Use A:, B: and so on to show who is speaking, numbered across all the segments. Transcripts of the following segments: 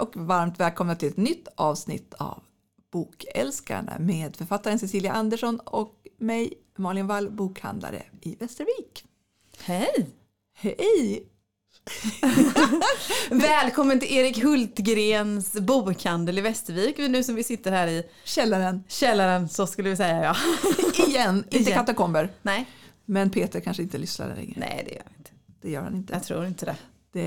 A: och varmt välkomna till ett nytt avsnitt av Bokälskarna med författaren Cecilia Andersson och mig, Malin Wall, bokhandlare i Västervik.
B: Hej!
A: Hej!
B: Välkommen till Erik Hultgrens bokhandel i Västervik. Nu som vi sitter här i
A: Källaren,
B: källaren så skulle vi säga ja.
A: igen, inte
B: Igen.
A: katakomber.
B: Nej,
A: Men Peter kanske inte lyssnar längre.
B: nej det gör jag inte.
A: Det gör han inte.
B: Jag tror inte det.
A: Det,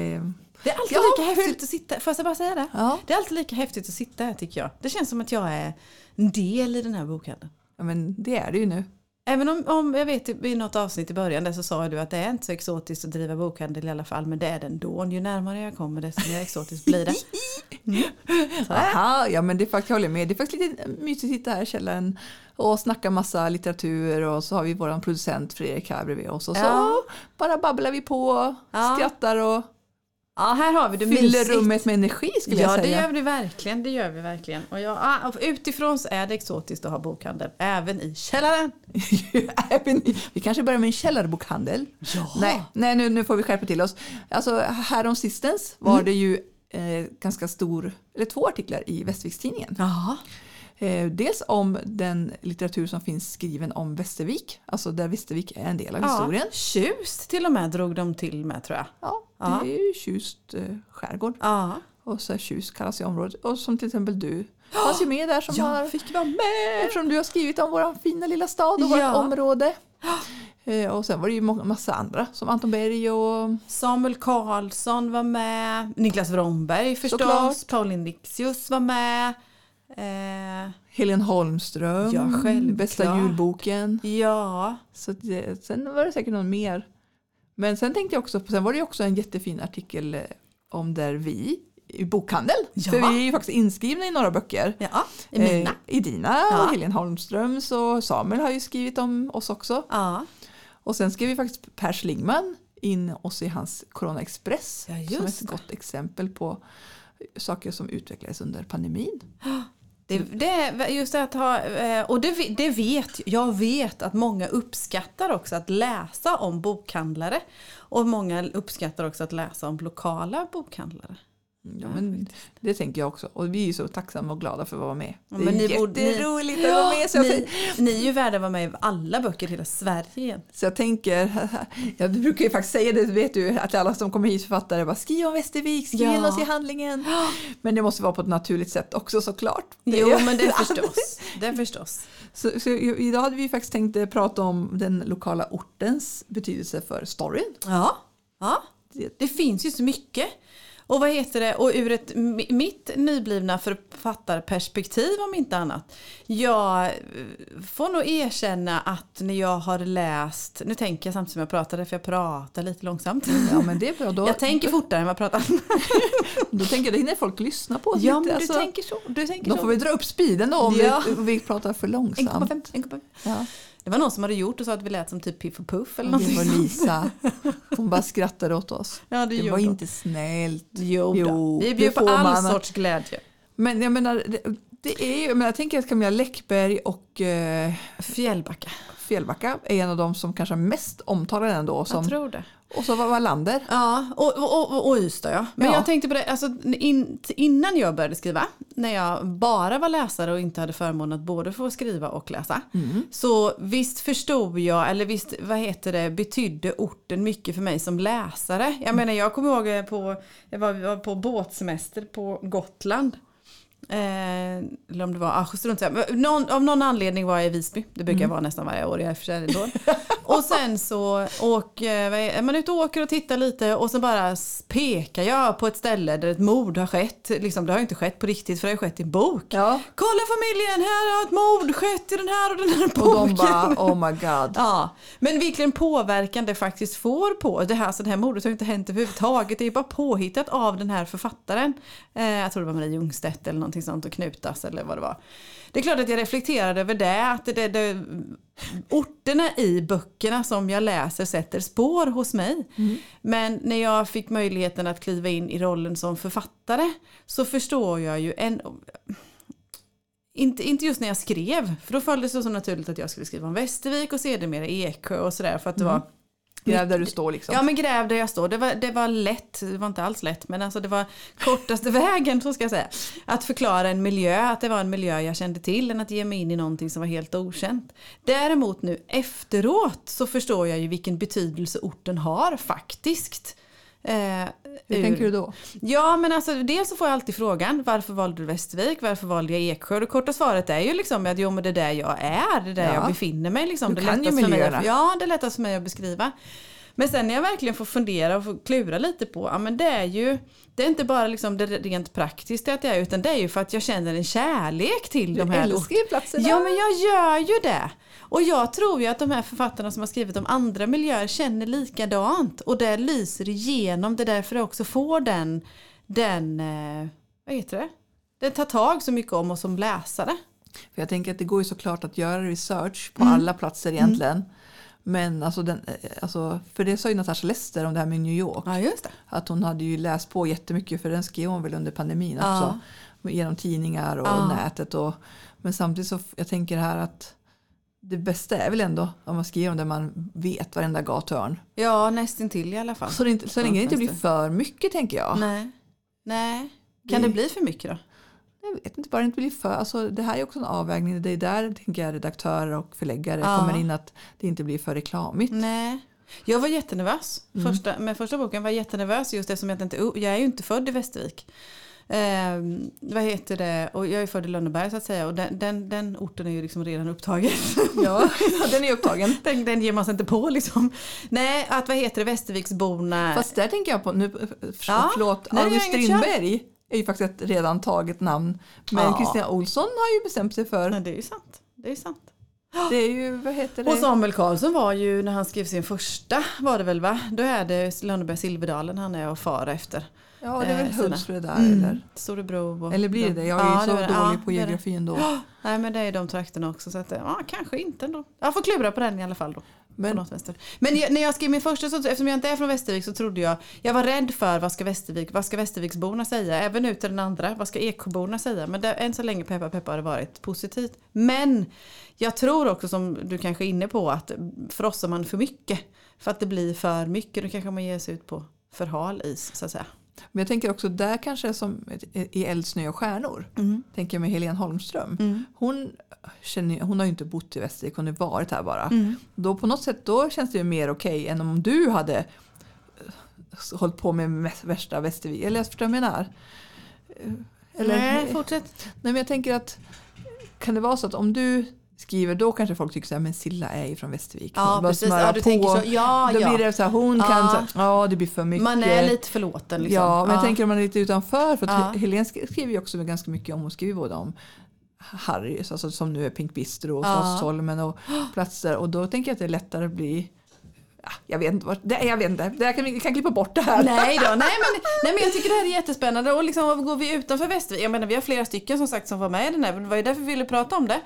B: Det är alltid
A: Ja,
B: lika
A: hur-
B: häftigt att sitta Får jag bara säga det?
A: ja.
B: Det är alltid lika häftigt att sitta här tycker jag. Det känns som att jag är en del i den här bokhandeln.
A: ja, men det är det ju nu.
B: Även om, om jag vet i något avsnitt i början där så sa du att det är inte så exotiskt att driva bokhandel i alla fall. Men det är den då. Ju närmare jag kommer desto mer exotiskt blir det.
A: Aha, ja men det är faktiskt, jag håller med. Det är faktiskt lite mysigt att sitta här i källaren och snacka massa litteratur och så har vi vår producent Fredrik här bredvid oss och så
B: Ja.
A: bara babblar vi på,
B: Ja.
A: skrattar och
B: Ja, här har vi det.
A: fyller
B: Mysigt.
A: rummet med energi skulle
B: ja,
A: jag säga.
B: det gör vi verkligen. Det gör vi verkligen. Och jag, ah, utifrån så är det exotiskt att ha bokhandel, även i källaren.
A: Även- vi kanske börjar med en källarbokhandel.
B: Ja.
A: Nej, nej nu, nu får vi skärpa till oss. Alltså häromsistens var
B: Mm.
A: det ju eh, ganska stor, eller två artiklar i Västervikstidningen.
B: Ja.
A: Eh, dels om den litteratur som finns skriven om Västervik, alltså där Västervik är en del av historien.
B: Tjust till och med drog de till med tror jag.
A: Ja, det
B: Ja.
A: är ju Tjust eh, skärgård
B: Ja,
A: och så här Tjust kallas ju området. Och som till exempel du fanns ju med där som har,
B: fick vara med.
A: Eh, eftersom du har skrivit om vår fina lilla stad och
B: Ja.
A: vårt område. Eh, och sen var det ju må- massa andra som Anton Berg och
B: Samuel Karlsson var med. Niklas Wrongberg förstås.
A: Såklart.
B: Paul Indixius var med. Eh,
A: Helen Holmström,
B: Ja, självklart.
A: Bästa julboken.
B: ja.
A: Så att det, sen var det säkert någon mer. Men sen tänkte jag också, på- sen var det ju också en jättefin artikel eh, om där vi i bokhandel,
B: Ja.
A: för vi är ju faktiskt inskrivna i några böcker.
B: ja, i mina.
A: Eh, I dina
B: Ja.
A: och Helene Holmströms och Samuel har ju skrivit om oss också.
B: Ja.
A: Och sen skrev ju faktiskt Per Schlingman in oss i hans Corona Express
B: Ja,
A: som
B: just
A: ett gott exempel på saker som utvecklades under pandemin.
B: Det, det, just att ha, eh, och det, ve- det vet jag vet att många uppskattar också att läsa om bokhandlare. Och många uppskattar också att läsa om lokala bokhandlare.
A: Ja, men det tänker jag också. Och vi är ju så tacksamma och glada för att vara med.
B: Ja,
A: det är
B: men ni borde- ni-
A: jätteroligt att vara med. Så jag,
B: ni,
A: tänk-
B: ni är ju värda att vara med i alla böcker i hela Sverige. igen.
A: så jag tänker, jag brukar ju faktiskt säga det, vet du, att alla som kommer hit författare bara skriv om Västervik, skriv in
B: Ja.
A: oss i handlingen. Men det måste vara på ett naturligt sätt också såklart. Det
B: Jo
A: är-
B: men det förstås. Det förstås.
A: Så, så i- idag hade vi faktiskt tänkt eh, prata om den lokala ortens betydelse för storyn.
B: Ja, ja. Det finns ju så mycket. Och vad heter det? Och ur ett, mi- mitt nyblivna författarperspektiv om inte annat. Jag eh, får nog erkänna att när jag har läst, nu tänker jag samtidigt som jag pratar för jag pratar lite långsamt.
A: Ja men det är bra, då,
B: Jag tänker fortare än vad jag pratar.
A: då tänker jag det hinner folk lyssna på. oss
B: Ja
A: lite,
B: men du
A: alltså.
B: tänker så. Du tänker
A: då får
B: så.
A: vi dra upp speeden då om
B: Ja.
A: vi, vi pratar för långsamt.
B: 1,5. 1,5.
A: Ja.
B: Det var någon som hade gjort och sa att vi lät som typ Piff och Puff eller
A: Det
B: någonting.
A: var Lisa. Hon bara skrattade åt oss.
B: Ja, det
A: Det
B: gjorde
A: var
B: hon.
A: inte snällt.
B: Jo,
A: Jo,
B: jo Vi
A: det
B: bjöd på
A: får
B: all
A: man.
B: sorts glädje.
A: Men jag menar, det, det är ju, men jag tänker att Camilla Läckberg och eh,
B: Fjällbacka.
A: Fjällbacka är en av de som kanske är mest omtalade ändå.
B: Jag
A: Som,
B: tror det.
A: och så var Wallander.
B: Ja, och, och, och, och Ystad ja. Men
A: Ja.
B: jag tänkte på det, alltså, in, innan jag började skriva, när jag bara var läsare och inte hade förmånen att både få skriva och läsa, så visst förstod jag, eller visst vad heter det, betydde orten mycket för mig som läsare. Jag menar jag kommer ihåg eh, på, jag var, vi var på båtsemester på Gotland. Eh, eller om det var, ah, strunt samma. Men någon, av någon anledning var jag i Visby. Det brukar
A: Mm.
B: jag vara nästan varje år. Jag är försäljare Och sen så åk, eh, vad är- är man ute och åker och tittar lite och så bara s- pekar jag på ett ställe där ett mord har skett. Liksom, det har ju inte skett på riktigt för det har ju skett i en bok.
A: Ja.
B: Kolla familjen, här har ett mord skett i den här och den här boken.
A: Och de bara oh my god.
B: Ja, men vilken påverkan det faktiskt får på det här. Så det här mordet har ju inte hänt överhuvudtaget. Det är ju bara påhittat av den här författaren. Eh, jag tror det var Marie Ljungstedt eller någonting sånt och Knutas eller vad det var. Det är klart att jag reflekterade över det. Att det, det orterna i böckerna som jag läser sätter spår hos mig. Men när jag fick möjligheten att kliva in i rollen som författare så förstår jag ju en, inte, inte just när jag skrev, för då föll det så, så naturligt att jag skulle skriva om Västervik och sedermera Eksjö och sådär för att det var
A: Gräv där du står liksom.
B: Ja men gräv där jag står. Det var, det var lätt, det var inte alls lätt men alltså det var kortaste vägen så ska jag säga. Att förklara en miljö, att det var en miljö jag kände till än att ge mig in i någonting som var helt okänt. Däremot nu efteråt så förstår jag ju vilken betydelse orten har faktiskt. Eh,
A: Hur
B: ur-
A: tänker du då?
B: Ja men alltså dels så får jag alltid frågan varför valde du Västervik, varför valde jag Eksjö? Det korta svaret är ju liksom att jo men det är där jag är, det är där
A: Ja.
B: jag befinner mig. Liksom.
A: Du
B: det är
A: kan ju
B: lättast för mig
A: miljöerna.
B: att, Ja det är lättast för mig att beskriva. Men sen när jag verkligen får fundera och får klura lite på, ja men det är ju, det är inte bara liksom det rent praktiska att jag är utan det är ju för att jag känner en kärlek till de
A: Du
B: här
A: älskar ju platserna.
B: Ja men jag gör ju det. Och jag tror ju att de här författarna som har skrivit om andra miljöer känner likadant. Och det lyser igenom. Det är därför jag också får den, den eh, vad heter det? Den tar tag så mycket om oss som läsare.
A: För jag tänker att det går ju såklart att göra research
B: Mm.
A: på alla platser egentligen. Men alltså, den, eh, alltså, för det sa ju Natasha Lester om det här med New York.
B: Ja just det.
A: Att hon hade ju läst på jättemycket för den skrev hon väl under pandemin
B: Ja.
A: också. Genom tidningar och
B: Ja.
A: nätet. Och, men samtidigt så f- jag tänker här att det bästa är väl ändå om man skriver om det man vet varenda gathörn.
B: Ja nästintill i alla fall.
A: Så, det inte, så
B: Ja,
A: länge det inte
B: just
A: blir
B: det.
A: för
B: Mm.
A: mycket tänker jag.
B: Nej. Nej. Kan
A: Det-
B: det bli för mycket då?
A: Jag vet inte, bara det inte blir för. Alltså, det här är också en avvägning. Det är där tänker jag redaktörer och förläggare
B: Ja.
A: kommer in att det inte blir för reklamigt.
B: Nej. Jag var jättenervös. Första, med första boken var jag jättenervös just eftersom jag inte, jag är ju inte född i Västervik. Ehm, vad heter det? Och jag är född i Lönneberg så att säga och den, den, den orten är ju liksom redan upptagen.
A: Ja, den är upptagen.
B: den, den ger man sig inte på liksom. Nej, att vad heter det Västerviksborna.
A: Fast där tänker jag på, nu, eh, för,
B: Ja,
A: förlåt,
B: nej,
A: August
B: jag har inget kör.
A: Strindberg är ju faktiskt ett redan taget namn. Men
B: Ja.
A: Kristina Olsson har ju bestämt sig för,
B: Nej, det är ju sant. Det är ju sant.
A: det är ju, vad heter det?
B: Och Samuel Karlsson var ju när han skrev sin första var det väl va? Då är det Lönneberg Silverdalen han är och far efter.
A: ja, det är väl
B: eh, sina.
A: Hultsfred där
B: Mm.
A: eller?
B: Storebro. Och
A: Eller blir det
B: de-
A: det? Jag är ju så
B: det var det.
A: dålig
B: Ja,
A: på
B: det är det.
A: geografin då.
B: Nej men det är de trakterna också så att eh, ja, kanske inte ändå. Jag får klura på den i alla fall då. Men,
A: Men,
B: något vänster. men jag, när jag skrev min första så eftersom jag inte är från Västervik så trodde jag, jag var rädd för vad ska Västervik, vad ska Västerviksborna säga? Även ut till den andra, vad ska Ekoborna säga? Men det, än så länge peppa peppa har det varit positivt. Men jag tror också som du kanske är inne på att frossar man för mycket för att det blir för mycket då kanske man ger sig ut på för hal is så att säga.
A: men jag tänker också där kanske som i Eld, snö och stjärnor.
B: Mm.
A: Tänker jag med Helene Holmström. Hon, känner, ju- hon har ju inte bott i Västervik, hon har varit här bara. Då på något sätt då känns det ju mer okej än om du hade eh, hållit på med mest- värsta Västervik. Eller jag förstår vad jag menar. Eh, Eller,
B: Nej,
A: nej,
B: fortsätt.
A: men jag tänker att kan det vara så att om du skriver då kanske folk tycker så här, men Silla är ju från Västervik.
B: Ja,
A: Hon bara
B: precis.
A: smörar
B: Ja, du tänker så. Ja,
A: då
B: ja.
A: blir det så här, hon kan,
B: Ja.
A: så här, ja det blir för mycket.
B: Man är lite förlåten liksom.
A: Ja, men jag tänker om man är lite utanför. För att
B: Ja.
A: Helene sk- skriver ju också ganska mycket om, hon skriver både om Harrys, alltså som nu är Pink Bistro och
B: Ja.
A: Slottsholmen och platser. Och då tänker jag att det är lättare att bli Ja, jag vet inte, vart- det, jag vet inte. Det här kan, vi vi kan klippa bort det här.
B: Nej då, nej men, nej men jag tycker det här är jättespännande och liksom går vi utanför Västervik, jag menar vi har flera stycken som sagt som var med i den här, men det var ju därför vi ville prata om det.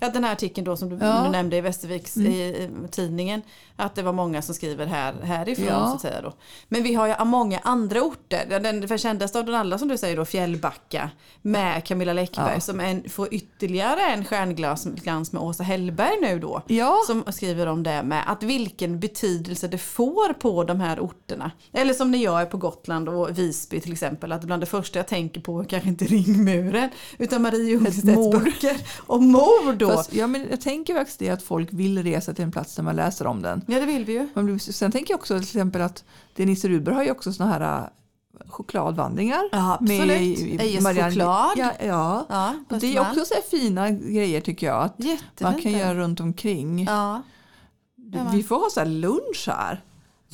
B: Att den här artikeln då som du,
A: Ja. Mm.
B: du nämnde i Västerviks i, i tidningen, att det var många som skriver här, härifrån
A: Ja.
B: så att säga då. Men vi har ju många andra orter, Ja, den för kändaste av den alla som du säger då, Fjällbacka med Camilla Läckberg
A: Ja.
B: som en, får ytterligare en stjärnglans med Åsa Hellberg nu då
A: Ja,
B: som skriver om det med att vilken betydelse det får på de här orterna. Eller som när jag är på Gotland och Visby till exempel, att bland det första jag tänker på är kanske inte ringmuren utan Marie Ljungstedts
A: mord.
B: böcker och mord då.
A: fast, ja men jag tänker faktiskt det att folk vill resa till en plats när man läser om den.
B: ja det vill vi ju.
A: Man blir, sen tänker jag också till exempel att Denise Rudberg har ju också såna här äh, chokladvandringar.
B: Ja, absolut. Ejes choklad.
A: Ja, ja.
B: Ja,
A: Och det är
B: Östermalm.
A: också så här fina grejer tycker jag. Att
B: Jättefint
A: man kan
B: där.
A: göra runt omkring.
B: Ja,
A: Vi får ha så här lunch här.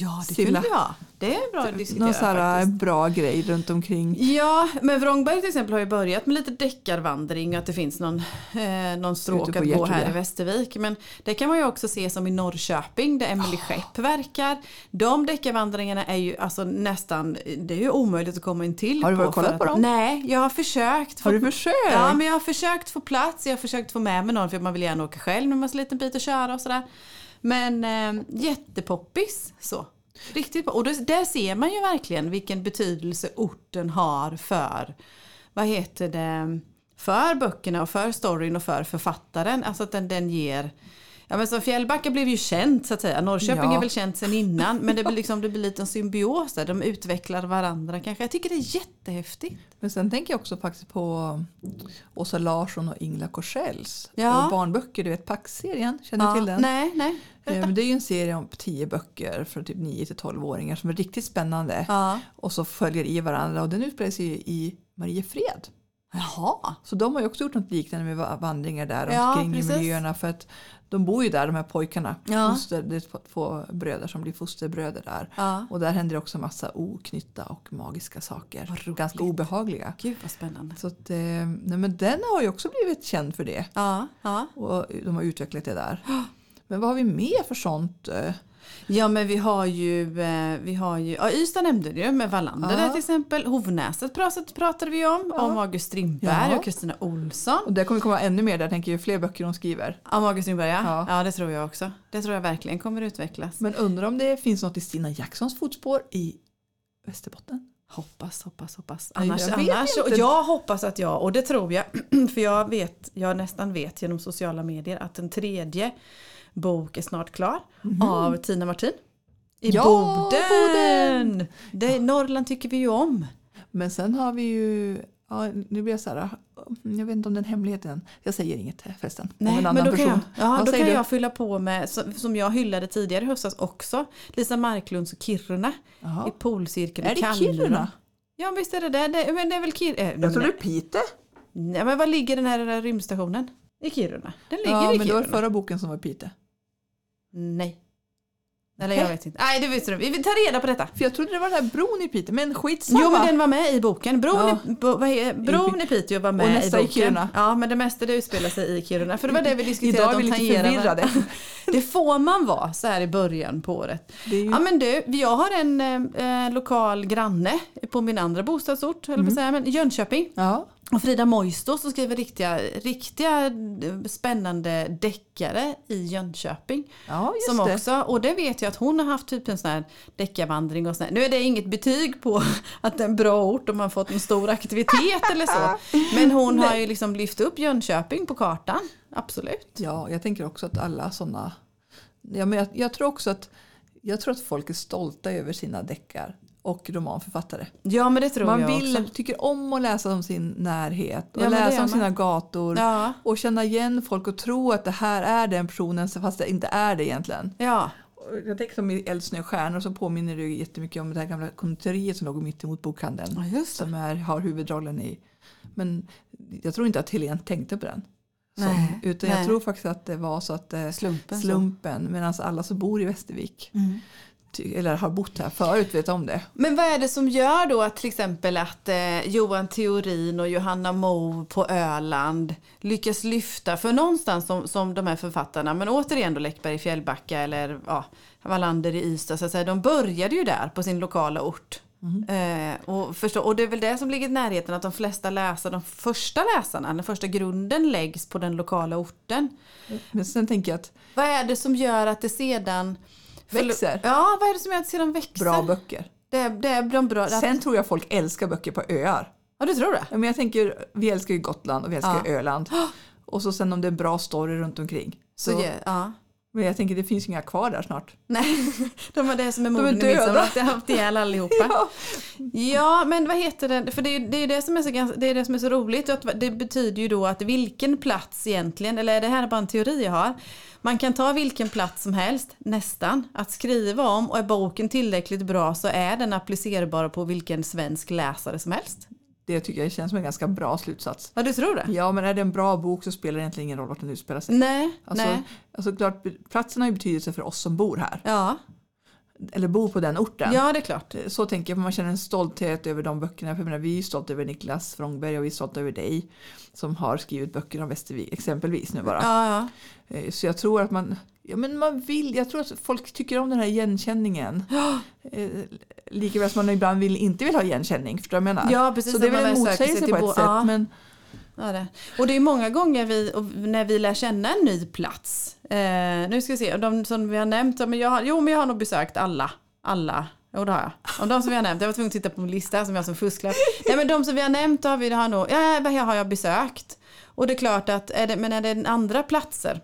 B: ja det
A: Silla.
B: vill vi ha. Det är bra att diskutera
A: Någon så här eh,
B: faktiskt.
A: bra grej runt omkring.
B: Ja, men Vrångberg till exempel har ju börjat med lite deckarvandring och att det finns någon, eh, någon stråk
A: Ute på
B: att gå här
A: Gertrud,
B: i
A: ja.
B: Västervik. Men det kan man ju också se som i Norrköping där Emily
A: Ah.
B: Skepp verkar. De deckarvandringarna är ju alltså nästan, det är ju omöjligt att komma in till.
A: Har du varit och
B: för
A: kollat
B: att-
A: på dem?
B: Nej, jag har försökt.
A: Har
B: få-
A: du försökt?
B: Ja, men jag har försökt få plats, jag har försökt få med mig någon för man vill gärna åka själv när man har så liten bit att köra och sådär. Men eh, jättepoppis så. Riktigt bra. Och då, där ser man ju verkligen vilken betydelse orten har för, vad heter det, för böckerna och för storyn och för författaren. Alltså att den, den ger Ja, men så Fjällbacka blev ju känt så att säga. Norrköping
A: Ja.
B: är väl känt sen innan. Men det blir, liksom, det blir lite en symbios där. De utvecklar varandra kanske. Jag tycker det är jättehäftigt.
A: Men sen tänker jag också faktiskt på um, Åsa Larsson och Ingela Korsells
B: Ja.
A: eh, barnböcker. Du vet Pax-serien, känner du till den?
B: Nej, nej.
A: Eh, men det är ju en serie om tio böcker från typ 9 till 12-åringar som är riktigt spännande.
B: Ja.
A: Och så följer i varandra och den utspelar sig ju i Mariefred.
B: Jaha.
A: Så de har ju också gjort något liknande med va- vandringar där
B: Ja,
A: omkring i
B: precis.
A: miljöerna. För att de bor ju där de här pojkarna.
B: Ja.
A: Foster, det är två- två bröder som blir fosterbröder där.
B: Ja.
A: Och där händer också massa oknytta och magiska saker. Ganska obehagliga.
B: Gud vad spännande.
A: Så att, eh, nej men den har ju också blivit känd för det.
B: Ja, ja.
A: Och de har utvecklat det där. Men vad har vi mer för sånt? eh?
B: ja men vi har ju, eh, vi har ju ja, Ystad nämnde du ju med Wallander
A: Ja.
B: där till exempel. Hovnäset pras- pratade vi om. Om August Strindberg
A: Ja.
B: och Kristina Olsson.
A: Och det kommer komma ännu mer där tänker jag, ju fler böcker hon skriver.
B: Ja, August Strindberg ja.
A: Ja.
B: ja. det tror jag också. Det tror jag verkligen kommer utvecklas.
A: Men undrar om det finns något i Stina Jacksons fotspår i Västerbotten?
B: Hoppas, hoppas, hoppas.
A: Nej,
B: Annars,
A: jag
B: jag,
A: vet
B: annars
A: inte.
B: jag hoppas att jag, och det tror jag, för jag vet, jag nästan vet genom sociala medier att en tredje bok är snart klar av Tina Martin. I
A: Mhm. Ja,
B: Boden!
A: Boden!
B: Det, Norrland tycker vi ju om.
A: Men sen har vi ju, ja, nu blir jag så här, jag vet inte om den hemligheten. Jag säger inget förresten. om en annan
B: då
A: person.
B: Kan jag, ja,
A: Vad
B: då
A: säger
B: kan
A: du?
B: jag fylla på med, som som jag hyllade tidigare i höstas också, Lisa Marklunds och Kiruna
A: Jaha.
B: i polcirkeln
A: Är
B: i
A: det
B: Kalmar.
A: Kiruna?
B: Ja visst är det det. det men det är väl Kiruna? Eh,
A: Jag
B: nej,
A: tror det är Piteå.
B: nej, men var ligger den här, den här rymdstationen? I Kiruna? Den ligger
A: Ja,
B: i
A: men det
B: Kiruna.
A: var förra boken som var i Piteå.
B: Nej. Eller jag vet inte. Nej, det visste du. Vi tar reda på detta.
A: För jag trodde det var den här bron i Piteå, men skitsamma.
B: Jo, men den var med i boken. Bron,
A: Ja.
B: i, bo, vad är, bron i Piteå var med
A: Och nästa
B: i
A: i
B: boken.
A: Kiruna.
B: Ja, men det mesta det utspelar sig i Kiruna. För det var det vi diskuterade.
A: Idag
B: att
A: är vi
B: de
A: lite
B: tangerar varandra.
A: förvirrade.
B: Det får man vara så här i början på året.
A: Det är ju-
B: Ja men du, jag har en eh, eh, lokal granne på min andra bostadsort, höll jag på att
A: Mm.
B: säga, men Jönköping.
A: Ja.
B: Och Frida Moisto som skriver riktiga, riktiga eh, spännande deckare i Jönköping.
A: Ja, just
B: Som
A: det.
B: också, och det vet jag att hon har haft typ en sån här deckarvandring och sån här. Nu är det inget betyg på att det är en bra ort om man fått en stor aktivitet eller så. Men hon har ju liksom lyft upp Jönköping på kartan. Absolut.
A: Ja, jag tänker också att alla sådana... Ja, men jag, jag tror också att jag tror att folk är stolta över sina deckar och romanförfattare.
B: Ja men det tror
A: Man
B: jag
A: vill,
B: också.
A: tycker om att läsa om sin närhet och
B: Ja, men det
A: läsa om
B: gör man.
A: sina gator
B: Ja.
A: och känna igen folk och tro att det här är den personen fast det inte är det egentligen.
B: Ja.
A: Och Jag tänker som i Eld, snö, stjärnor så påminner det ju jättemycket om det här gamla konditoriet som låg mitt emot bokhandeln.
B: Ja, just det.
A: Som är, har huvudrollen i. Men jag tror inte att Helene tänkte på den. Som,
B: Nej,
A: utan
B: nej.
A: jag tror faktiskt att det var så att eh,
B: Slumpen så. Mm.
A: slumpen medan alla som bor i Västervik ty- eller har bott här förut vet om det.
B: Men vad är det som gör då att till exempel att eh, Johan Theorin och Johanna Mo på Öland lyckas lyfta, för någonstans som, som de här författarna, men återigen då Läckberg i Fjällbacka eller ja, Wallander i Ystad, så att säga, de började ju där på sin lokala ort.
A: Mm.
B: Eh, och, förstå, och det är väl det som ligger i närheten att de flesta läsare, de första läsarna, den första grunden läggs på den lokala orten.
A: Men sen tänker jag att
B: Vad är det som gör att det sedan
A: Växer.
B: Ja, vad är det som gör att det sedan växer?
A: bra böcker.
B: Det är, det är de bra. att-
A: Sen tror jag folk älskar böcker på öar.
B: Ja, du tror det?
A: Ja, Men jag tänker, vi älskar ju Gotland och vi älskar
B: Ja.
A: Öland. Och så sen om det är en bra story runt omkring.
B: Så,
A: Så,
B: ja, ja.
A: men jag tänker det finns ju inga kvar där snart.
B: Nej, de har det som är moden i
A: döda.
B: midsommar, att de har haft ihjäl allihopa. ja. men vad heter det? För det är ju det, är ju det, som, är så, gans- det, är det som är så roligt. Att det betyder ju då att vilken plats egentligen, eller är det här bara en teori jag har? Man kan ta vilken plats som helst, nästan, att skriva om och är boken tillräckligt bra så är den applicerbar på vilken svensk läsare som helst.
A: Det tycker jag känns som en ganska bra slutsats.
B: Ja, du tror det?
A: Ja men är det en bra bok så spelar det egentligen ingen roll vart den utspelar sig.
B: Nej,
A: Alltså,
B: nej.
A: alltså klart, platsen har ju betydelse för oss som bor här.
B: Ja.
A: Eller bor på den orten.
B: ja, det är klart.
A: Så tänker jag, för man känner en stolthet över de böckerna. För jag menar, vi är ju stolta över Niklas Frångberg och vi är stolta över dig som har skrivit böcker om Västervik exempelvis nu bara.
B: Ja, ja.
A: Eh, Så jag tror att man, ja, men man vill, jag tror att folk tycker om den här igenkänningen. Eh, Likaväl som man ibland vill, inte vill ha igenkänning. Förstår du vad jag menar?
B: Ja, precis,
A: så det är
B: när man
A: väl en
B: väl söker sig
A: motsägelse
B: till
A: på ett
B: bo-
A: sätt.
B: ja.
A: Men
B: Ja, det. Och det är många gånger vi, och när vi lär känna en ny plats. Eh, nu ska vi se, och de som vi har nämnt, ja, men jag, har- jo men jag har nog besökt alla. Alla. Jo det har jag. Och de som vi har nämnt, jag var tvungen att titta på min lista som jag som fusklapp. Nej men de som vi har nämnt har, vi, har, nog, ja, vad har jag besökt. Och det är klart att, är det, men är det andra platser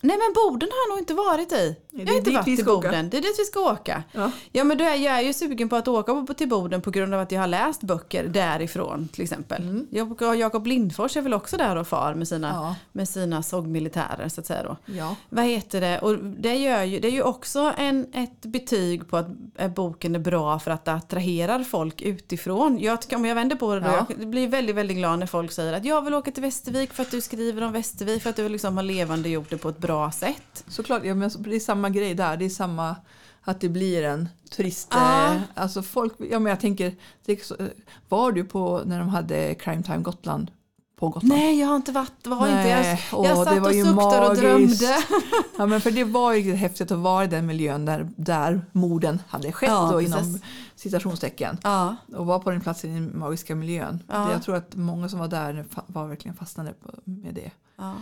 B: Nej men Boden har jag nog inte varit i.
A: det
B: jag har
A: är
B: inte
A: dit vi
B: varit i
A: ska åka.
B: Boden. Det är dit vi ska åka.
A: Ja.
B: Ja men då är jag ju sugen på att åka på- till Boden på grund av att jag har läst böcker därifrån till exempel. Jag- Jakob Lindfors är väl också där och far med sina,
A: Ja.
B: med sina sågmilitärer så att säga då.
A: Ja.
B: Vad heter det? Och det, gör ju, det är ju också en, ett betyg på att eh, boken är bra för att det attraherar folk utifrån. Jag, tycker- om jag vänder på det då,
A: Ja.
B: jag blir väldigt, väldigt glad när folk säger att jag vill åka till Västervik för att du skriver om Västervik, för att du liksom har levande gjort det på ett bra sätt.
A: Såklart, ja, men det är samma grej där. Det är samma att det blir en turist...
B: Ja.
A: Eh, alltså folk, ja, men jag tänker, det är så, eh, var du på när de hade Crime Time Gotland på Gotland?
B: Nej, jag har inte varit, var inte jag.
A: Nej, åh,
B: jag
A: det
B: satt
A: var
B: och
A: ju
B: suktade och
A: magiskt.
B: drömde.
A: Ja, men för det var ju häftigt att vara i den miljön där, där morden hade skett
B: Ja,
A: då,
B: precis.
A: inom citationstecken.
B: Ja,
A: Och vara på den platsen i den magiska miljön.
B: Ja.
A: Det- Jag tror att många som var där fa- var verkligen fastnade på, med det.
B: ja.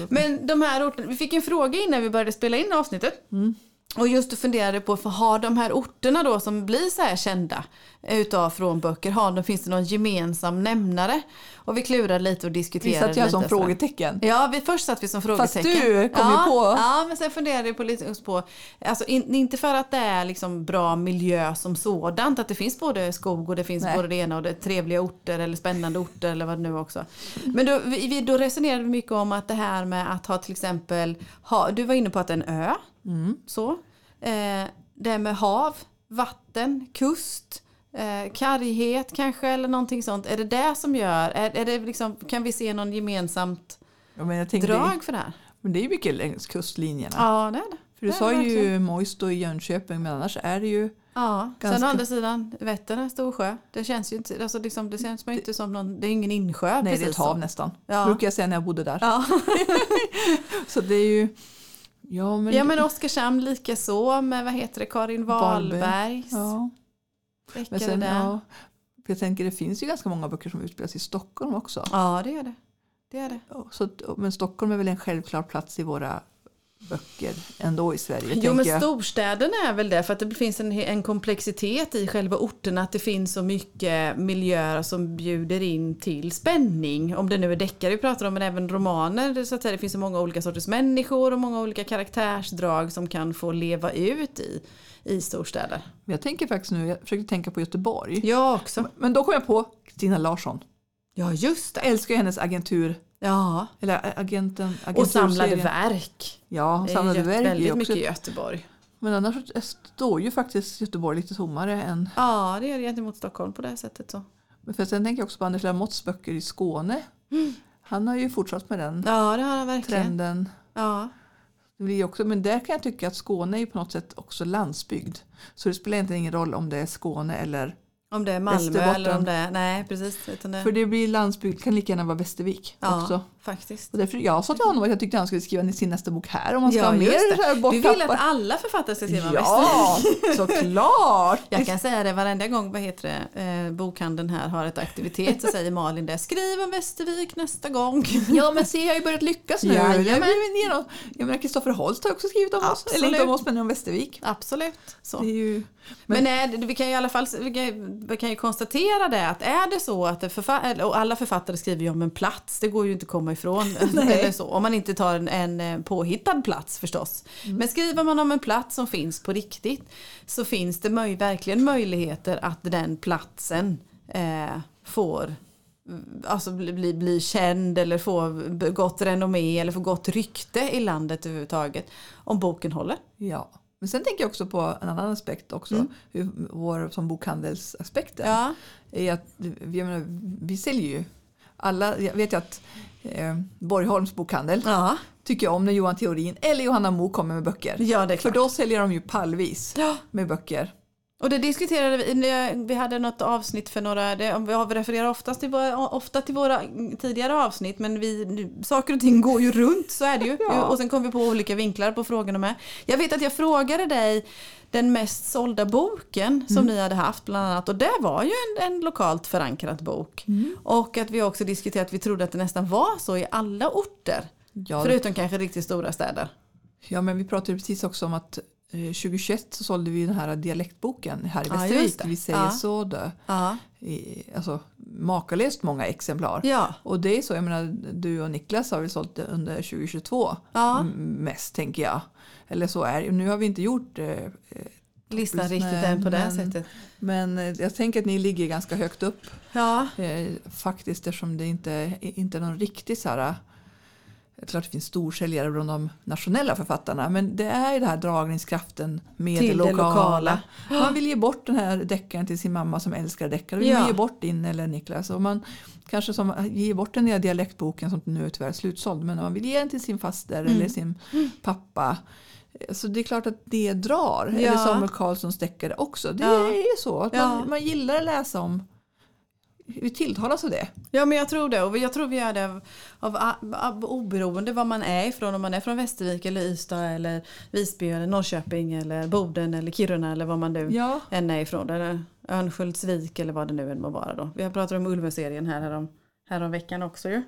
A: Mm.
B: Men de här orterna, vi fick en fråga innan vi började spela in avsnittet.
A: Mm.
B: Och just funderade på, för har de här orterna då som blir så här kända eh, utav från böcker, har de, finns det någon gemensam nämnare? Och vi klurade lite och
A: Vi
B: diskuterade
A: satt ju här
B: lite.
A: som
B: sådär.
A: frågetecken.
B: Ja, vi, först satt vi som frågetecken.
A: du kom ju
B: ja,
A: på.
B: Ja, men sen funderade jag på lite just på, alltså in, inte för att det är liksom bra miljö som sådant, att det finns både skog och det finns
A: Nej.
B: både det ena och det trevliga orter eller spännande orter eller vad det nu var också. Men då, vi, vi- då resonerade vi mycket om att det här med att ha till exempel, ha, du var inne på att en ö,
A: Mm.
B: så. Eh, det här med hav, vatten, kust. Eh, karghet kanske eller någonting sånt. Är det det som gör, är, är det liksom, kan vi se någon gemensamt
A: Ja, men, jag tänkte,
B: drag för det här.
A: men det är ju mycket längs kustlinjerna.
B: Ja, det är det.
A: För du
B: det är
A: sa
B: det
A: ju
B: verkligen.
A: Moisto i Jönköping men annars är det ju
B: Ja, sen
A: ganska-
B: å andra sidan, Vättern är en stor sjö. Det känns ju inte, alltså liksom, det känns ju inte som någon, det är ingen insjö.
A: nej, det är
B: precis
A: ett hav
B: så.
A: nästan.
B: Ja.
A: Brukar jag säga när jag bodde där.
B: Ja.
A: Så det är ju... Ja men...
B: ja, men Oskarshamn lika så med vad heter det, Karin
A: Wahlberg.
B: Wahlbergs
A: Ja, men
B: deckare
A: sen,
B: där.
A: ja. För Jag tänker det finns ju ganska många böcker som utspelas i Stockholm också.
B: ja, det är det. Det är det.
A: Så, att- men Stockholm är väl en självklar plats i våra böcker ändå i Sverige.
B: Jo men
A: tänker jag.
B: storstäderna är väl det för att det finns en, en komplexitet i själva orterna att det finns så mycket miljöer som bjuder in till spänning. Om det nu är deckare vi pratar om men även romaner. det är Så att säga, det finns så många olika sorters människor och många olika karaktärsdrag som kan få leva ut i, i storstäder.
A: Men jag tänker faktiskt nu, jag försökte tänka på Göteborg.
B: Jag också.
A: Men då kom jag på Kristina Larsson.
B: Ja just det.
A: Jag älskar ju hennes agentur,
B: Ja.
A: eller ä- agenten, agenturserien.
B: Och samlade verk.
A: Ja,
B: Det är
A: samlade
B: ju
A: verk är ju
B: väldigt
A: också
B: mycket i Göteborg.
A: Men annars så står ju faktiskt Göteborg lite tommare än...
B: Ja det är det gentemot Stockholm på det här sättet så.
A: Men För sen tänker jag också på Anders Lamotts böcker i Skåne.
B: Mm.
A: Han har ju fortsatt med den
B: Ja det har jag verkligen.
A: trenden.
B: Ja.
A: Det blir ju också, men där kan jag tycka att Skåne är ju på något sätt också landsbygd. Så det spelar egentligen ingen roll om det är Skåne eller...
B: Om det är Malmö
A: Västerbotten.
B: eller om det är... Nej, precis. Utan det,
A: För det blir landsbygd, kan lika gärna vara Västervik
B: ja,
A: också.
B: faktiskt.
A: Och därför, jag sa till honom att jag tyckte han skulle skriva sin nästa bok här om man ska ha
B: just
A: mer så här
B: det. Vi vill
A: borttappar.
B: att alla författare ska skriva om Västervik.
A: Ja, såklart!
B: Jag kan säga det varenda gång vad heter det, eh, bokhandeln här har ett aktivitet så säger Malin det. Skriv om Västervik nästa gång.
A: Ja men se jag har ju börjat lyckas nu.
B: Jajamän.
A: Jag blir genom- Jag menar Kristoffer Holst har också skrivit om oss.
B: Absolut.
A: Eller inte om oss men om Västervik.
B: Absolut. Så.
A: Det är ju...
B: Men, är, det- vi kan ju i alla fall vi kan, vi kan ju konstatera det att är det så att det förfa- eller- och alla författare skriver ju om en plats, det går ju inte att komma ifrån. eller så, om man inte tar en, en eh, påhittad plats förstås. Men skriver man om en plats som finns på riktigt så finns det möj, verkligen möjligheter att den platsen eh, får mm, Alltså bli, bli, bli känd eller få b- gott renommé eller få gott rykte i landet överhuvudtaget. Om boken håller.
A: Ja. Men sen tänker jag också på en annan aspekt också. Hur vår som bokhandelsaspekten.
B: Ja.
A: Är att, vi- jag menar, vi säljer ju. Alla, jag vet ju att eh, Borgholms bokhandel
B: Ja,
A: tycker jag om när Johan Theorin eller Johanna Mo kommer med böcker.
B: ja det är klart.
A: För då säljer de ju pallvis
B: Ja.
A: med böcker.
B: Och det diskuterade vi, när vi hade något avsnitt för några, det, om vi har- vi refererar oftast till våra, ofta till våra tidigare avsnitt men vi, nu, saker och ting går ju runt så är det ju.
A: Ja.
B: Och sen kom vi på olika vinklar på frågorna med. Jag vet att jag frågade dig den mest sålda boken som
A: Mm.
B: ni hade haft bland annat och det var ju en, en lokalt förankrad bok.
A: Mm.
B: Och att vi också diskuterat att vi trodde att det nästan var så i alla orter.
A: Ja,
B: Förutom kanske riktigt stora städer.
A: Ja, men vi pratade ju precis också om att eh, 2021 så sålde vi den här dialektboken här i
B: Ja, just
A: Västervik.
B: det.
A: vi säger
B: Ja.
A: så dö.
B: Ja.
A: I, alltså makalöst många exemplar.
B: Ja.
A: Och det är så, jag menar du och Niklas har väl sålt det under 2022
B: Ja.
A: m- mest tänker jag. Eller så är det. Nu har vi inte gjort eh, eh,
B: Listan
A: Precis,
B: riktigt
A: nej,
B: än på det
A: men-
B: sättet.
A: men eh, jag tänker att ni ligger ganska högt upp
B: Ja.
A: eh, faktiskt eftersom det inte, inte är någon riktig så här eh, det är klart det finns storsäljare bland de nationella författarna men det är ju den här dragningskraften med
B: Till
A: det
B: det
A: lokala.
B: lokala.
A: Man vill ge bort den här deckaren till sin mamma som älskar deckare. Vill
B: Ja.
A: man ge bort din eller Niklas. Och man kanske som, ger bort den här dialektboken som nu är tyvärr slutsåld men man vill ge den till sin faster
B: Mm.
A: eller sin pappa. Eh, Så det är klart att det drar. Eller
B: Ja.
A: Samuel Karlssons deckare också. Det
B: Ja.
A: är så att man,
B: Ja.
A: man gillar att läsa om vi tilltalas av det.
B: Ja men jag tror det och jag tror vi gör det av, av, av oberoende var man är ifrån. Om man är från Västervik eller Ystad eller Visby eller Norrköping eller Boden eller Kiruna eller var man nu
A: Ja.
B: än är ifrån. Eller Örnsköldsvik eller vad det nu än må vara då. Vi har pratat om Ulveserien här härom, härom veckan också ju.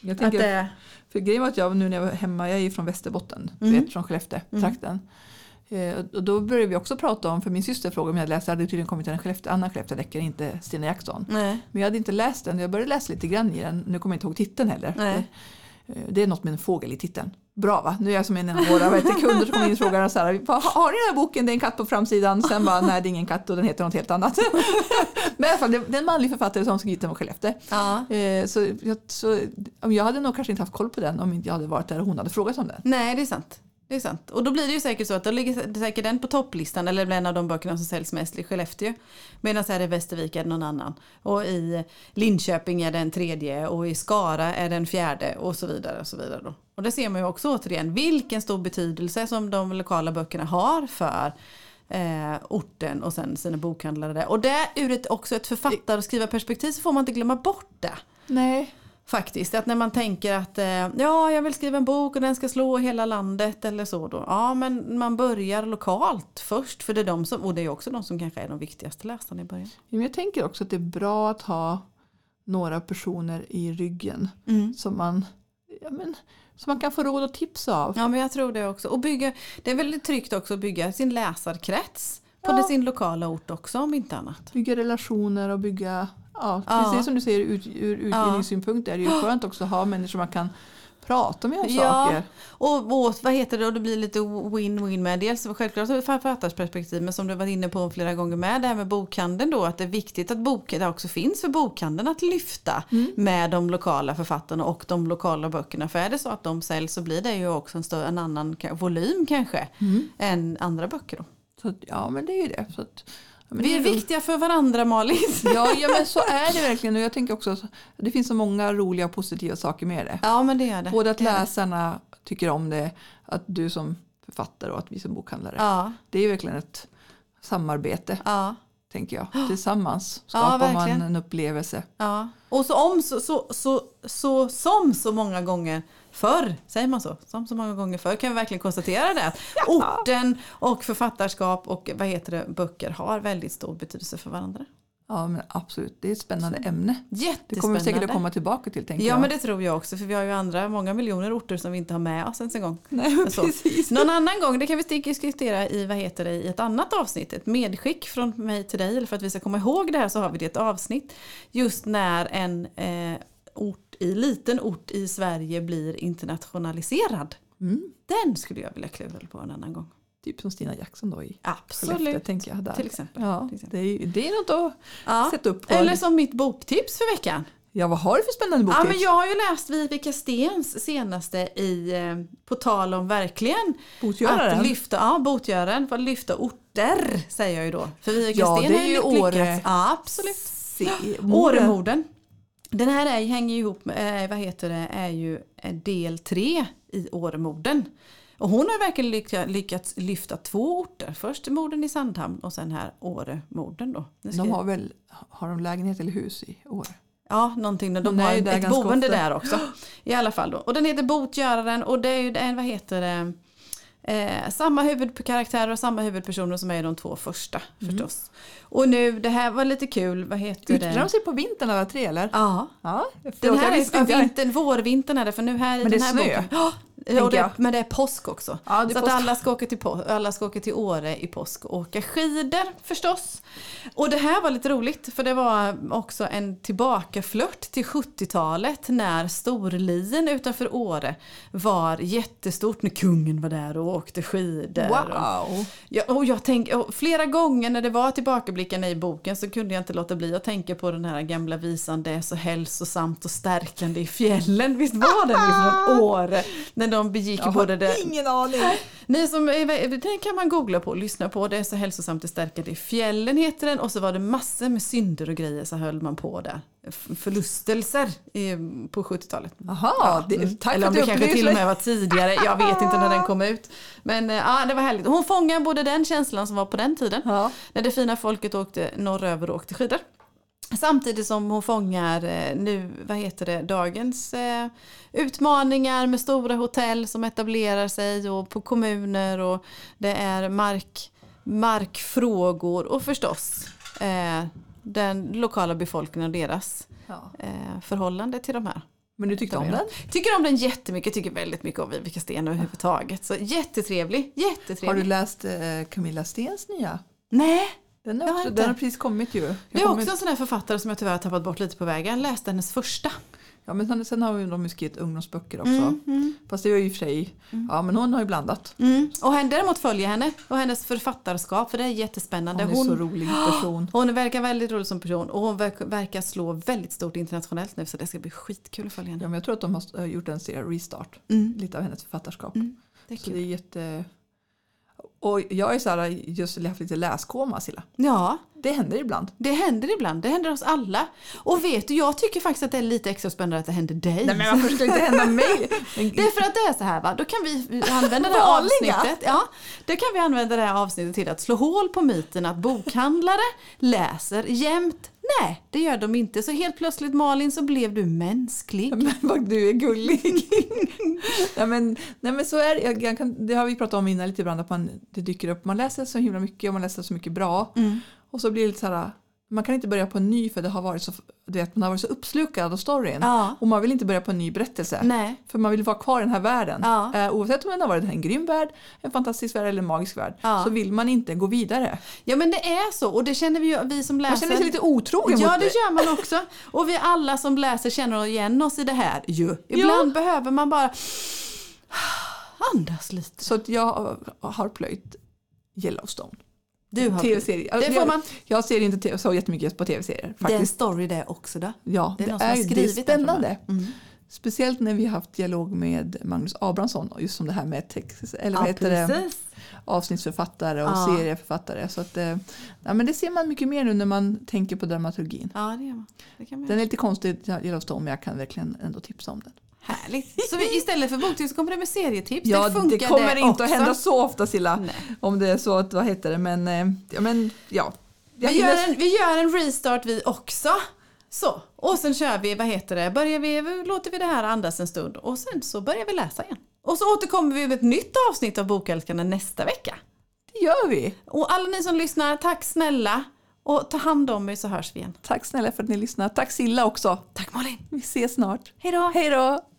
A: Jag
B: Att
A: tänker,
B: det är
A: För grejen var att jag nu när jag var hemma, jag är ju från Västerbotten,
B: Mm.
A: du vet från Skellefteå, trakten. Eh, och då började vi också prata om, för min syster frågade om jag hade läst, det hade tydligen kommit en Skellefteå, annan Skellefteå-deckare, inte Stina Jackson.
B: nej,
A: Men jag hade inte läst den, jag började läsa lite grann i den, nu kommer jag inte ihåg titeln heller.
B: Nej.
A: Eh, Det är något med en fågel i titeln. Bra va? Nu är jag som en av våra vad heter, kunder som kommer in och frågar så här, "Vad- har ni den här boken, det är en katt på framsidan. Sen bara, nej det är ingen katt och den heter något helt annat. Men i alla fall, det det är en manlig författare som skrivit den om Skellefteå.
B: ja.
A: Eh, så, jag, så om jag hade nog kanske inte haft koll på den om inte jag hade varit där och hon hade frågat om den.
B: nej det är sant. Det är sant. Och då blir det ju säkert så att då ligger säkert den på topplistan eller blir en av de böckerna som säljs mest i Skellefteå. Medan här i Västervik är det någon annan. Och i Linköping är det en tredje och i Skara är det en fjärde och så vidare. Och så vidare då. Och det ser man ju också återigen vilken stor betydelse som de lokala böckerna har för eh, orten och sen sina bokhandlare där. Och det ur ett, också ett författar och skrivarperspektiv så får man inte glömma bort det.
A: Nej.
B: Faktiskt, att när man tänker att eh, ja, jag vill skriva en bok och den ska slå hela landet eller så då. Ja, men man börjar lokalt först för det är de som, och det är också de som kanske är de viktigaste läsarna i början.
A: Men jag tänker också att det är bra att ha några personer i ryggen
B: Mm.
A: som, man, ja, men, som man kan få råd och tips av.
B: Ja, men jag tror det också. Och bygga, det är väldigt tryggt också att bygga sin läsarkrets på det sin lokala ort också om inte annat.
A: Bygga relationer och bygga, ja,
B: Ja.
A: precis som du säger ut, ur utgivningssynpunkt är det ju skönt också att ha människor man kan prata med om saker.
B: och, och vad heter det, och det blir lite win-win med dels självklart ur ett författarperspektiv men som du var inne på flera gånger med det här med bokhandeln då att det är viktigt att boken det också finns för bokhandeln att lyfta med de lokala författarna och de lokala böckerna för är det så att de säljs så blir det ju också en, större, en annan ka- volym kanske än andra böcker då.
A: Mm. Så att, ja men det är ju det. Så att, ja, men det
B: Vi är
A: ju-
B: viktiga för varandra Malin.
A: Ja, ja men så är det verkligen och jag tänker också att det finns så många roliga och positiva saker med det.
B: Ja men det gör det.
A: Både att läsarna tycker om det, att du som författare och att vi som bokhandlare.
B: Ja,
A: Det är verkligen ett samarbete,
B: ja.
A: tänker jag. Tillsammans skapar man
B: verkligen.
A: en upplevelse.
B: Ja. Och så om så, så, så, så som så många gånger förr, säger man så? Som så många gånger förr kan vi verkligen konstatera det. Att orten och författarskap och vad heter det, böcker har väldigt stor betydelse för varandra.
A: Ja, men absolut. Det är ett spännande ämne.
B: Jättespännande.
A: Det kommer vi säkert att komma tillbaka till, tänker
B: Ja
A: jag.
B: men det tror jag också för vi har ju andra, många miljoner orter som vi inte har med oss ens en gång.
A: Nej, men
B: Så.
A: precis.
B: Någon annan gång, det kan vi stick- diskutera i, vad heter det, i ett annat avsnitt. Ett medskick från mig till dig, eller för att vi ska komma ihåg det här så har vi det i ett avsnitt. Just när en eh, ort i, liten ort i Sverige blir internationaliserad.
A: Mm.
B: Den skulle jag vilja klura på en annan gång.
A: Typ som Stina Jackson då i Skellefteå,
B: Absolut.
A: tänker jag. Där.
B: Till exempel.
A: Ja,
B: Till exempel.
A: det är, ju- det är något att
B: Ja.
A: sätta upp på.
B: Eller som mitt boktips för veckan.
A: Ja, vad har du för spännande
B: Ja,
A: boktips?
B: men jag har ju läst Vivica Stens senaste i eh, På tal om verkligen.
A: Botgöraren?
B: Att lyfta, ja, botgöraren. För att lyfta orter säger jag ju då. För Vivica
A: Ja,
B: Sten
A: det
B: har
A: är ju
B: lyck-
A: Åre.
B: lyckats. Ja, absolut.
A: Se, Åremor.
B: Åremorden. Den här är, hänger ju ihop med, eh, vad heter det, är ju eh, del tre i Åremorden. Och hon har verkligen lyckats, lyckats lyfta två orter. Först morden i Sandhamn och sen här Åremorden då. Nu ska
A: De
B: jag-
A: har väl har de lägenhet eller hus i år?
B: Ja, någonting. De
A: Hon är
B: har
A: ju
B: ett
A: där
B: ett
A: ganska
B: boende
A: ofta.
B: där också. I alla fall då. Och den heter Botgöraren och det är ju en, vad heter det, eh, samma huvudkaraktärer och samma huvudpersoner som är i de två första
A: Mm.
B: förstås. Och nu, det här var lite kul, vad heter
A: Utspelar de
B: det?
A: sig på vintern alla tre eller?
B: Ja.
A: Ja,
B: Den
A: förlåt, jag
B: här
A: visste
B: är
A: inte.
B: vintern, vårvintern är det för nu här i
A: Men det
B: den
A: är
B: här
A: snö.
B: boken. Ja, Och det,
A: jag.
B: men det är påsk också.
A: Ja, det är
B: så
A: påsk.
B: att alla ska, åka till på, alla ska åka till Åre i påsk och åka skidor förstås. Och det här var lite roligt för det var också en tillbakaflört till 70-talet när Storlien utanför Åre var jättestort när kungen var där och åkte skidor. Och-
A: Wow!
B: Ja, och jag tänk, och flera gånger när det var tillbakablickar i boken så kunde jag inte låta bli att tänka på den här gamla visan Det är så hälsosamt och stärkande i fjällen. Visst var den ifrån Åre? När de begick
A: Jag
B: både det...
A: har ingen aning.
B: Ni som är, den kan man googla på och lyssna på. Det är så hälsosamt och stärkande i fjällen heter den. Och så var det massor med synder och grejer så höll man på där. F- Förlustelser i, på 70-talet.
A: Jaha, mm. det, tack för
B: Eller om
A: att
B: det
A: du
B: kanske till
A: upplyste mig.
B: och med var tidigare. Jag vet inte när den kom ut. Men eh, ja, det var härligt. Hon fångar både den känslan som var på den tiden.
A: Ja.
B: När det fina folket åkte norröver och åkte skidor. Samtidigt som hon fångar eh, nu, vad heter det, dagens eh, utmaningar med stora hotell som etablerar sig och på kommuner och det är mark, markfrågor och förstås eh, den lokala befolkningen och deras
A: Ja.
B: eh, förhållande till de här.
A: Men du tyckte om den?
B: Tycker om den jättemycket, tycker väldigt mycket om Vivica Sten överhuvudtaget. Så jättetrevlig, jättetrevlig.
A: Har du läst eh, Camilla Stens nya?
B: Nej,
A: Den, är
B: Jag har
A: också,
B: inte.
A: den har precis kommit ju. Jag
B: det är
A: kommer
B: också
A: inte-
B: en sån här författare som jag tyvärr har tappat bort lite på vägen. Läste hennes första.
A: Ja, men sen, sen har ju de ju skrivit ungdomsböcker också.
B: mm.
A: Fast det är ju i och för sig, ja men hon har ju blandat.
B: Mm. Och henne, däremot följer henne och hennes författarskap för det är jättespännande.
A: Hon är så rolig person.
B: hon verkar väldigt rolig som person och hon verk, verkar slå väldigt stort internationellt nu så det ska bli skitkul att följa henne.
A: Ja, men jag tror att de har eh, gjort en serie restart,
B: Mm.
A: lite av hennes författarskap.
B: Mm, Det är
A: Så det
B: kul.
A: är jätte... Och jag är så här, just haft lite läskoma Silla.
B: Ja,
A: Det händer ibland.
B: det händer ibland. Det händer oss alla. Och vet du, jag tycker faktiskt att det är lite extra spännande att det händer dig.
A: Nej men varför ska det inte hända mig? Men,
B: Det är för att det är så här va, då kan vi använda det här
A: Vanliga.
B: avsnittet. Ja, då kan vi använda det här avsnittet till att slå hål på myten att bokhandlare läser jämt. Nej, det gör de inte. Så helt plötsligt Malin så blev du mänsklig.
A: men vad du är gullig. nej, men, nej men så är det. Jag, jag kan, det har vi pratat om innan lite ibland att man, det dyker upp. Man läser så himla mycket och man läser så mycket bra.
B: Mm.
A: Och så blir det lite så här. Man kan inte börja på en ny för det har varit så, du vet, man har varit så uppslukad av storyn.
B: Ja.
A: Och man vill inte börja på en ny berättelse.
B: Nej.
A: För man vill vara kvar i den här världen.
B: Ja.
A: Eh, oavsett om den har varit en grym värld, en fantastisk värld eller en magisk värld.
B: Ja.
A: Så vill man inte gå vidare.
B: Ja men det är så och det känner vi, ju- vi som läser.
A: Man känner sig lite otrogen
B: Ja
A: mot
B: det gör man också. Och vi alla som läser känner igen oss i det här ju. Ibland behöver man bara andas lite.
A: Så att jag har plöjt Yellowstone.
B: Du har
A: TV-serier.
B: Det får man.
A: Jag, jag ser inte te- så jättemycket på tv-serier
B: Det är en
A: faktiskt.
B: story det också då.
A: ja,
B: det
A: det
B: är
A: är,
B: någon som har
A: ju- det är
B: skrivit den, tror jag. Mm.
A: spännande. Speciellt när vi har haft dialog med Magnus Abrahamsson och just som det här med text, eller vad heter det? avsnittsförfattare och
B: Ja.
A: serieförfattare. Så att, eh, ja, men det ser man mycket mer nu när man tänker på dramaturgin.
B: Ja, det gör man. Det kan man
A: Den
B: göra.
A: är lite konstig, Yellowstone, men jag kan verkligen ändå tipsa om den.
B: Härligt. Så vi, istället för boktips så kommer det med serietips.
A: Ja,
B: det funkar
A: det kommer inte
B: också.
A: att hända så ofta Silla.
B: Nej.
A: Om det är så att, vad heter det, men eh, ja. Men, ja. Jag
B: Vi
A: hinner-
B: gör, en, vi gör en restart vi också. Så, och sen kör vi, vad heter det, börjar vi, låter vi det här andas en stund och sen så börjar vi läsa igen. Och så återkommer vi med ett nytt avsnitt av Bokälskarna nästa vecka.
A: det gör vi.
B: Och alla ni som lyssnar, tack snälla och ta hand om er så hörs vi igen.
A: Tack snälla för att ni lyssnar. Tack Silla också.
B: Tack Malin!
A: Vi ses snart.
B: Hej då!
A: Hej då!